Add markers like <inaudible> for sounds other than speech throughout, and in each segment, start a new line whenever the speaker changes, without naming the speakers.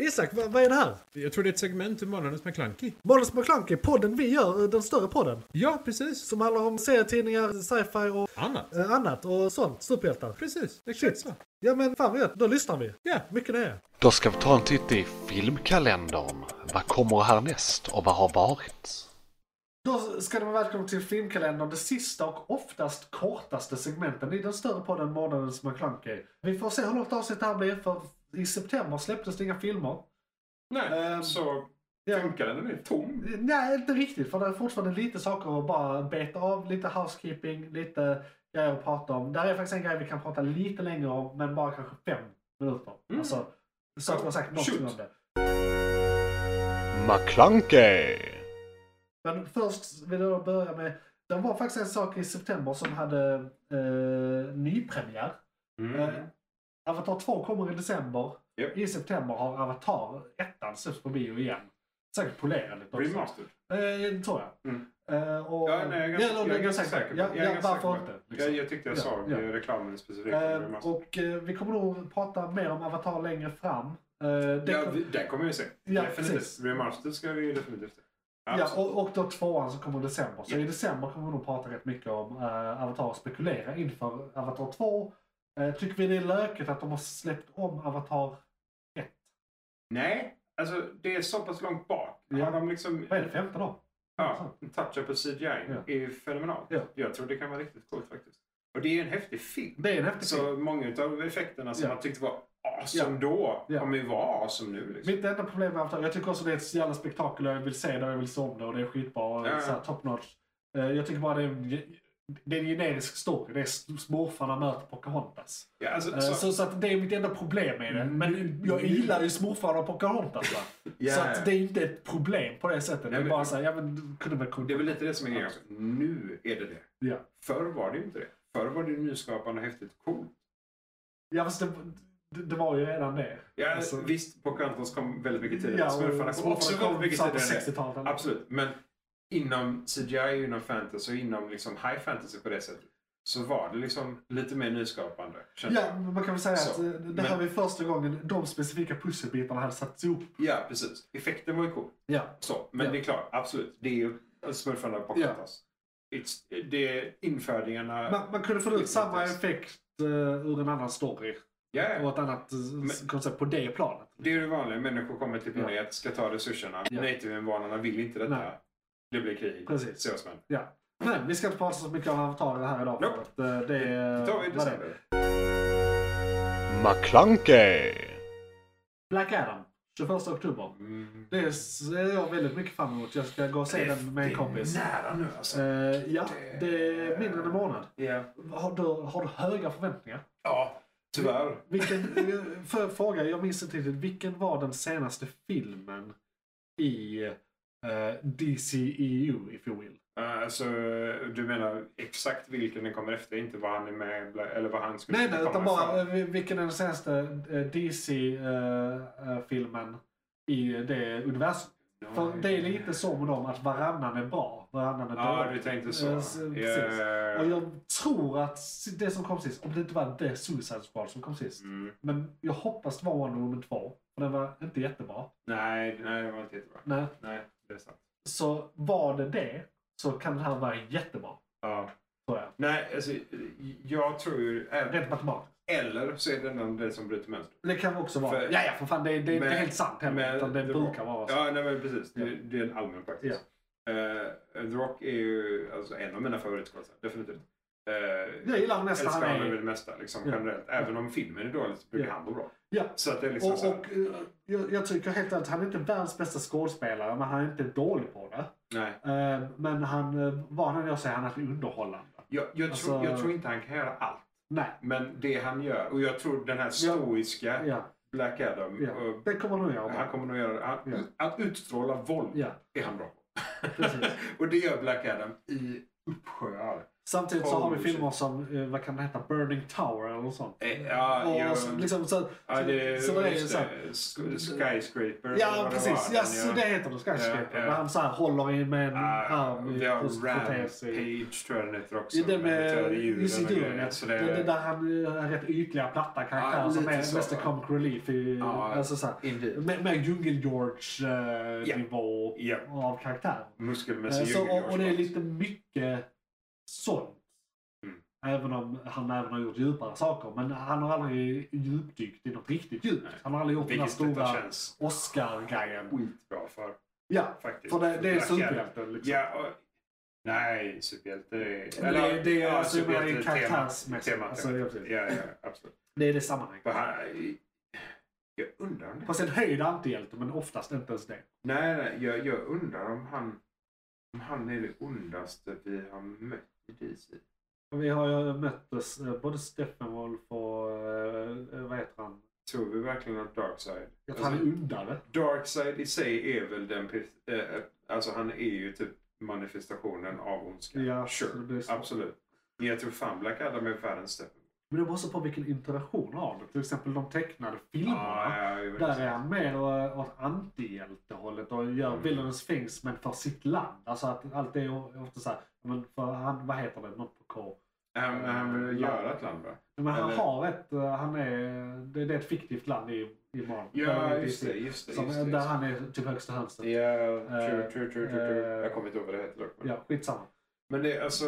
Isak, vad, vad är det här?
Jag tror det är ett segment ur Månadens McKlunky.
Måns McClunky, podden vi gör, eh, den större podden.
Ja, precis.
Som handlar om serietidningar, sci-fi och
Annat.
eh, annat och sånt. Superhjältar.
Precis, exakt så.
Ja men fan vad gött, då lyssnar vi.
Ja.
Mycket nöje.
Då ska vi ta en titt i filmkalendern. Vad kommer härnäst och vad har varit?
Då ska ni vara välkomna till filmkalendern, det sista och oftast kortaste segmenten i den större podden Månadens McClunky. Vi får se hur långt avsnitt det här blir för i september släpptes det inga filmer.
Nej,
Ehm,
så
ja.
funkar den. Den är tom.
Nej, inte riktigt. För det är fortfarande lite saker att bara beta av. Lite housekeeping, lite grejer att prata om. Där är faktiskt en grej vi kan prata lite längre om, men bara kanske fem minuter.
Mm.
Alltså, så att man har sagt någonting
Shoot.
om det.
McClunkey!
Men först vill jag börja med, det var faktiskt en sak i september som hade eh, nypremiär.
Mm.
Eh, Avatar 2 kommer i december.
Ja.
I september har Avatar 1 släppts på bio igen. Säkert polerad lite också.
Remastered.
Eh, tror jag.
Mm.
Eh, och,
Ja, nej, jag är ganska,
eller om
jag
det
är ganska säker. på-
Ja,
jag
ja,
är ganska
varför
säker på
inte?
det.
liksom.
Jag, jag tyckte jag
Ja,
såg
ja.
eh, reklamen specifikt. om
Eh,
remastered.
och eh, vi kommer nog prata mer om Avatar längre fram. Eh, det
ja,
kom-
vi, det kommer vi se.
Ja, precis.
definitivt. Remastered ska vi definitivt se.
ja,
Absolut.
och, och då tvåan som kommer i december. Så
Ja.
i december kommer vi nog prata rätt mycket om eh, Avatar och spekulera inför Avatar 2. Eh, tycker vi det är löket att de har släppt om Avatar,
Nej, alltså det är så pass långt bak.
Ja.
Har de liksom...
vad är det, 15 år?
Ja, toucha på CGI
Ja.
är ju fenomenalt.
Ja.
Jag tror det kan vara riktigt coolt faktiskt. Och det är en häftig film.
Det är en häftig film.
Så många av effekterna som
Ja.
man tyckte var awesome då
Ja.
kommer ju vara awesome nu. Liksom.
Mitt enda problem med Avatar, jag tycker också det är ett jävla spektakel och jag vill se det och jag vill se om det och det är skitbra och
Ja, ja.
så här top notch. Eh, jag tycker bara det är en, ge- det är en generisk story. Det är s- smurfarna möter Pocahontas.
Ja, alltså,
Eh,
så- Mm.
Så, så att det är mitt enda problem med det. Men jag gillar ju smurfarna och Pocahontas va?
Ja.
Så att det är inte ett problem på det sättet. det
Nej,
är
men-
bara såhär, ja men du kunde väl kunna...
Det är väl lite det som är grejen också. Nu är det det.
Ja.
Förr var det ju inte det. Förr var det ju nyskapande, häftigt, coolt.
Ja fast det, det, det var ju redan det.
Ja,
Alltså-
visst, Pocahontas kom väldigt mycket tidigare.
Ja, och
Smurfarna kom också
smurfarna
väldigt mycket
kom på
tidigare. än
60-talet.
det. Absolut, men inom CGI, inom fantasy och inom liksom high fantasy på det sättet så var det liksom lite mer nyskapande. kände
Ja,
jag.
men man kan väl säga
Så,
att eh, det här
men-
var ju första gången de specifika pusselbitarna hade satts ihop.
ja, precis. Effekten var ju cool.
Ja.
Så, men
Ja.
det är klart, absolut. Det är ju smurfarna och Pocahontas. It's- Det är infördingarna.
Man, man kunde få ut
Precis.
samma effekt eh, ur en annan story
Ja,
och ett annat eh,
Men-
koncept på det planet.
Det är det vanliga. Människor kommer till planet, ska ta resurserna.
Ja.
Native-invånarna vill inte detta.
Nej.
Det blir krig.
Precis.
Såsmän.
Ja. Men vi ska inte prata så mycket om Avatar i det här idag. För
Nope.
att, eh, det, är-
Det tar vi i
vad det är.
december.
McClunkey!
Black Adam, 21 oktober.
Mm.
Det ser jag väldigt mycket fram emot. Jag ska gå och se den med en kompis.
Det är nära nu alltså.
Eh, ja, det är mindre än en månad.
Ja.
Har du, har du höga förväntningar?
ja, tyvärr.
Vilken, eh, för jag fråga, jag minns inte riktigt. Vilken var den senaste filmen i eh, E DCEU, if you will?
Eh, Alltså, du menar exakt vilken den kommer efter? Inte vad han är med eller vad han skulle
Nej,
kunna
nej, utan
komma
bara
ifrån.
eh, vilken är den senaste eh, DC-filmen eh, i det universum? eh, För det är lite så med dem att varannan är bra, varannan är
Ja,
dålig.
du tänkte så.
Eh, s- Precis.
Ja.
Och jag tror att det som kom sist, om det inte var det Suicide Squad som kom sist.
Mm.
Men jag hoppas det var Wonder Woman 2, för den var inte jättebra.
Nej, nej, det var inte jättebra.
Nej.
Nej, det är sant.
Så var det det, så kan den här vara jättebra.
Ja.
Tror jag.
Nej, alltså, jag tror ju...
Rent matematiskt.
Eller så är det någon den som bryter mönster.
Det kan också vara.
För-
ja, ja, för fan det, det, det
Men-
är helt sant heller.
men
utan det
The
brukar
Rock-
vara så.
Ja, nej, men precis. Det,
Ja.
det är en allmän praxis.
Ja.
Eh, The Rock är ju alltså, en av mina favoritskådisar, definitivt. Uh,
Jag gillar honom nästan. Han
älskar honom i
är,
det mesta, liksom,
Ja.
generellt. Även om filmen är dålig så brukar
Ja.
han vara bra.
ja.
Så att det är liksom
Och,
så
och eh, jag, jag tycker helt ärligt, han är inte världens bästa skådespelare, men han är inte dålig på det.
nej.
Eh, Men han, eh, vad han än gör så är han alltid underhållande.
Jag, jag,
Alltså-
tror, jag tror inte han kan göra allt.
Nej.
Men det han gör, och jag tror den här stoiska
Ja,
Black Adam,
ja.
och
Det kommer nog jag
han
med.
kommer nog göra... Han,
Ja.
Att utstråla våld
Ja,
är han bra på. <laughs>
precis.
och det gör Black Adam i uppsjöar.
Samtidigt så har vi
Holy
filmer som, eh, vad kan det heta, Burning Tower eller något sånt.
Eh, ja,
och,
jo.
så- liksom, så,
Ja, det,
så, så det är ju
just
så här,
det. Sk- Skyscraper. eller
Ja,
vad
precis.
var,
Ja,
den,
så det heter det. Skyscraper.
Ja, ja.
Där han så här håller i med en
Ah,
arm i
vi har
protes- protes i-
Rampage tror jag den heter också.
I det
döda
med
djuren
just i
och grejer,
djuren, ja.
Så
det,
alltså det,
det där han eh, är rätt ytliga, platta karaktärer
Ja,
som
lite
är
så,
mest
va?
comic relief. I,
Ja,
alltså så här,
indeed.
med, med
Ja.
Djungel-George-nivå
Ja.
av karaktär. Eh,
Muskelmässig
så,
djungel.
och, och det är lite mycket sånt.
Mm.
Även om han även har gjort djupare saker. Men han har aldrig djupdykt i något riktigt djupt. Han har aldrig gjort den här
Vilket detta
stora
känns
Oscar-grejen.
skitbra för.
Ja,
Faktiskt.
för det, det är
Black Adam.
superhjälten liksom.
Ja, och, nej, superhjälte är...
Men det, det är
ja,
alltså jag menar,
superhjälte-
karaktärsmässigt.
Temat,
Alltså,
temat.
ja, precis.
Ja, ja, absolut.
det är det sammanhanget.
För han- Jag undrar om det...
Fast en höjd antihjälte, men oftast inte ens det.
Nej, nej, jag, jag undrar om han... Om han är det ondaste vi har mött i DC.
Vi har ju mött oss, eh, både Steppenwolf och, eh, vad heter han?
Tror vi verkligen att Darkseid...
Jag tror han är undare.
Darkseid i sig är väl den... pers- eh, Alltså han är ju typ manifestationen av ondska.
Ja, så det
sure.
är så.
Absolut. Men jag tror fan Black Adam är världens Steppenwolf.
Men det beror också på vilken interaktion av det. Till exempel de tecknade filmerna.
ja, jag vet
Där
inte.
är han mer å- åt antihjältehållet och gör
Mm.
Villainous Things men för sitt land. Alltså att allt är o- ofta såhär, men för han, vad heter det, något på K.
Han, han
Eh,
vill göra ett land va?
Men han
Eller-
har ett, eh, han är, det, det är ett fiktivt land i, i Marvel.
Ja,
Eller
just
DC.
det. Just det,
Som,
just det, just
där
det.
han är typ högsta hönset.
Ja,
Eh,
true, true, true, true, true.
eh,
Jag kommer inte ihåg vad det heter dock. Men,
Ja, skitsamma.
men det, är alltså,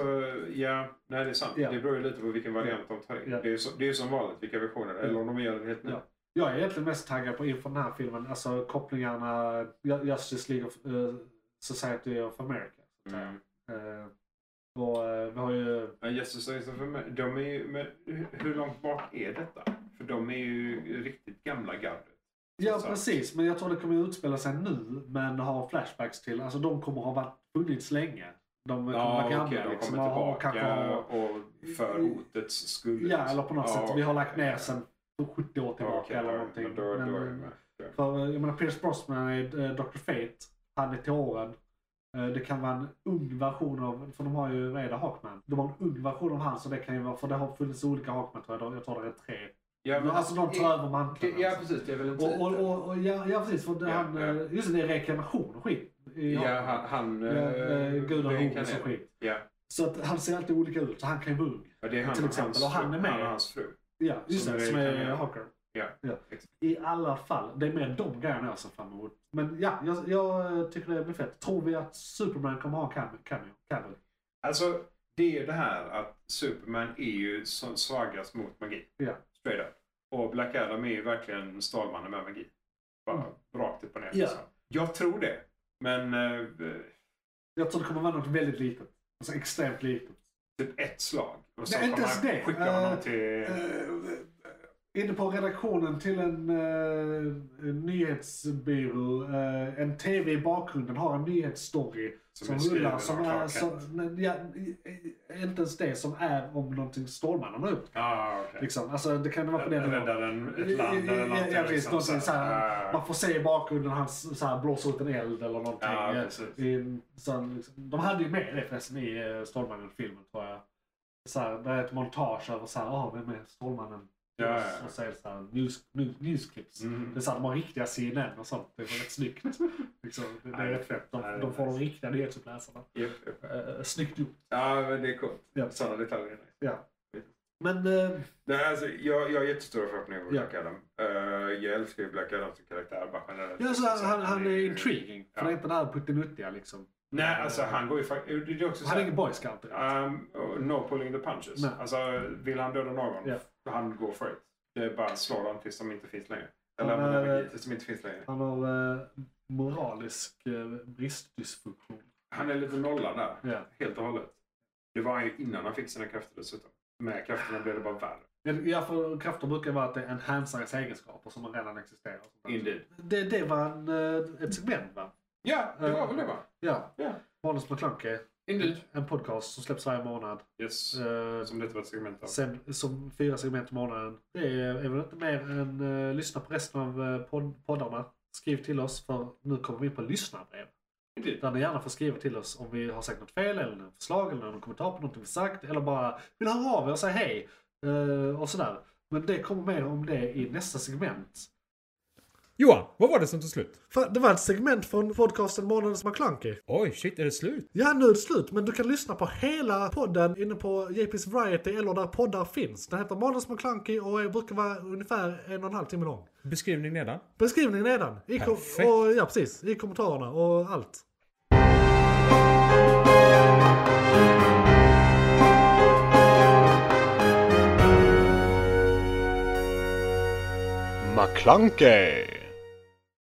ja, nej det är sant.
Ja.
Det beror ju lite på vilken variant de tar in.
Ja.
Det är ju som, det är ju som vanligt vilka versioner, eller om de gör den helt ny.
Ja. Jag är egentligen mest taggad på inför den här filmen, alltså kopplingarna Ju- Justice League of eh, Society of America.
Mm.
Eh, och eh, vi har ju,
Ja, Justice League of America, de är ju, men hur- hur långt bak är detta? För de är ju riktigt gamla gardet.
ja
Så-
precis, men jag tror det kommer utspela sig nu, men ha flashbacks till, alltså de kommer ha varit, funnits länge. De kommer vara gamla
okej, de
liksom,
kommer
och, och
tillbaka
kanske ha,
och för hotets skull.
ja eller på något
Ja,
sätt, vi har lagt
okej.
ner sedan 70 år tillbaka
Okej,
eller
då-
någonting.
men Då, då, är jag
Men,
med. Då är jag
För
med.
eh, jag menar, Pierce Brosnan är eh, Dr. Fate. Han är till åren. Eh, Det kan vara en ung version av, för de har ju, vad är det, Hawkman? De har en ung version av han, så det kan ju vara, för det har funnits olika Hawkman tror jag. Jag tror det är tre.
Ja, men-
alltså de tar över
Det-
manteln.
Ja
alltså.
precis, det är väl en
och, och,
titel.
och, och, ja, ja, precis. För det,
Ja,
han,
ja.
eh, Just det, det är reinkarnation och skit. i
Ja,
Hawkman.
han... han
Ja, eh, Gud och Horus och skit.
Ja.
Så att han ser alltid olika ut, så han kan ju vara ung.
ja, det är han
Till
och
exempel,
hans
och han är
fru-
med.
Han och hans fru.
Ja, just
Som
det.
är
Som är
reinkarnerad.
Hawker.
Ja,
ja.
exakt.
I alla fall, det är mer de grejerna jag ser fram emot. Men ja, jag, jag tycker det blir fett. Tror vi att Superman kommer ha en cam- cameo? cameo?
Alltså, det är ju det här att Superman är ju som svagast mot magi.
Ja.
Straight up. Och Black Adam är ju verkligen Stålmannen med magi. Bara
Mm.
rakt upp och ner.
Ja.
liksom. Jag tror det. Men eh,
Jag tror det kommer vara något väldigt litet. Alltså extremt litet.
typ ett slag. Och
Nej,
sen
inte
kommer
ens det.
han skicka honom
Eh,
till...
Eh, inne på redaktionen till en eh, en nyhetsbyrå, eh, en tv i bakgrunden har en nyhetsstory
Som
som,
är
rullar.
skriven
Som
av
är,
Clark
som,
Kent.
men, ja, eh, inte ens det som är om någonting Stålmannen har gjort.
Ah, okej.
Liksom. Alltså, det kan vara på den nivån.
Rädda den, ett land
Ja, ja,
eller någonting.
ja, precis.
liksom,
Någonting
så här.
såhär,
Ah.
Man får se i bakgrunden han s- så här blåser ut en eld eller någonting.
Ja,
eh,
precis.
i en sån, liksom. De hade ju med det förresten i eh, Stålmannen-filmen tror jag. Så här, det är ett montage över såhär, åh vem är Stålmannen?
Ja, ja, ja.
Och så är det såhär news, news, newsclips.
Mm.
Det är såhär, de har riktiga CNN och sånt. Det var rätt
<laughs>
snyggt. Liksom, det, det är
Ja,
rätt fett. De,
ja, det är
de får de
nice.
riktiga nyhetsuppläsarna.
Japp, japp.
Uh, snyggt gjort.
Ja, men det är coolt.
Ja.
Sådana detaljer. är nice.
Men eh,
Nej, alltså, jag, jag har jättestora förhoppningar på
Ja.
Black Adam. Eh, jag älskar ju Black Adam som karaktär. Bara generellt.
ja, så här, han, han är
ju-
intriguing. För
Ja.
det är inte det här puttinuttiga liksom.
Nej, alltså han går ju faktiskt... Det är också så
Han är
här,
ingen boy scout. direkt.
um, oh, No pulling the punches.
Nej.
Alltså, vill han döda någon,
Ja.
han går for it. Det är bara slår dem tills de inte finns längre.
Ja,
Eller
men-
använder magi tills de inte finns längre.
Han har eh, moralisk eh, bristdysfunktion.
Han är lite nollad där.
Ja.
Helt och hållet. Det var han ju innan han fick sina krafter dessutom. Med krafterna blev det bara värre.
Ja, för krafter brukar vara att det enhancerar ens egenskaper som redan existerar. och sånt där.
Indeed.
Det, det var en, eh, ett segment va?
Ja, det var väl det va?
Ja.
Ja. Mm.
Manus McClunky,
Indeed.
en podcast som släpps varje månad.
Yes.
Eh,
Som detta var ett segment av.
sen, som fyra segment i månaden. Det är, är väl inte mer än eh, lyssna på resten av eh, podd, poddarna. Skriv till oss för nu kommer vi in på lyssnarbrev.
Riktigt.
Där ni gärna får skriva till oss om vi har sagt något fel eller något förslag eller någon kommentar på något vi sagt. Eller bara vill höra av er och säga hej. eh, och sådär. Men det kommer mer om det i nästa segment.
Johan, vad var det som tog slut?
Fan, det var ett segment från podcasten Månadens McKlunky.
Oj, shit, är det slut?
Ja, nu är det slut. Men du kan lyssna på hela podden inne på JP's Variety eller där poddar finns. Den heter Månadens McKlunky och brukar vara ungefär en och en halv timme lång.
Beskrivning nedan.
Beskrivningen nedan. I kom-
Perfekt.
och, ja, precis. I kommentarerna och allt.
McClunkey!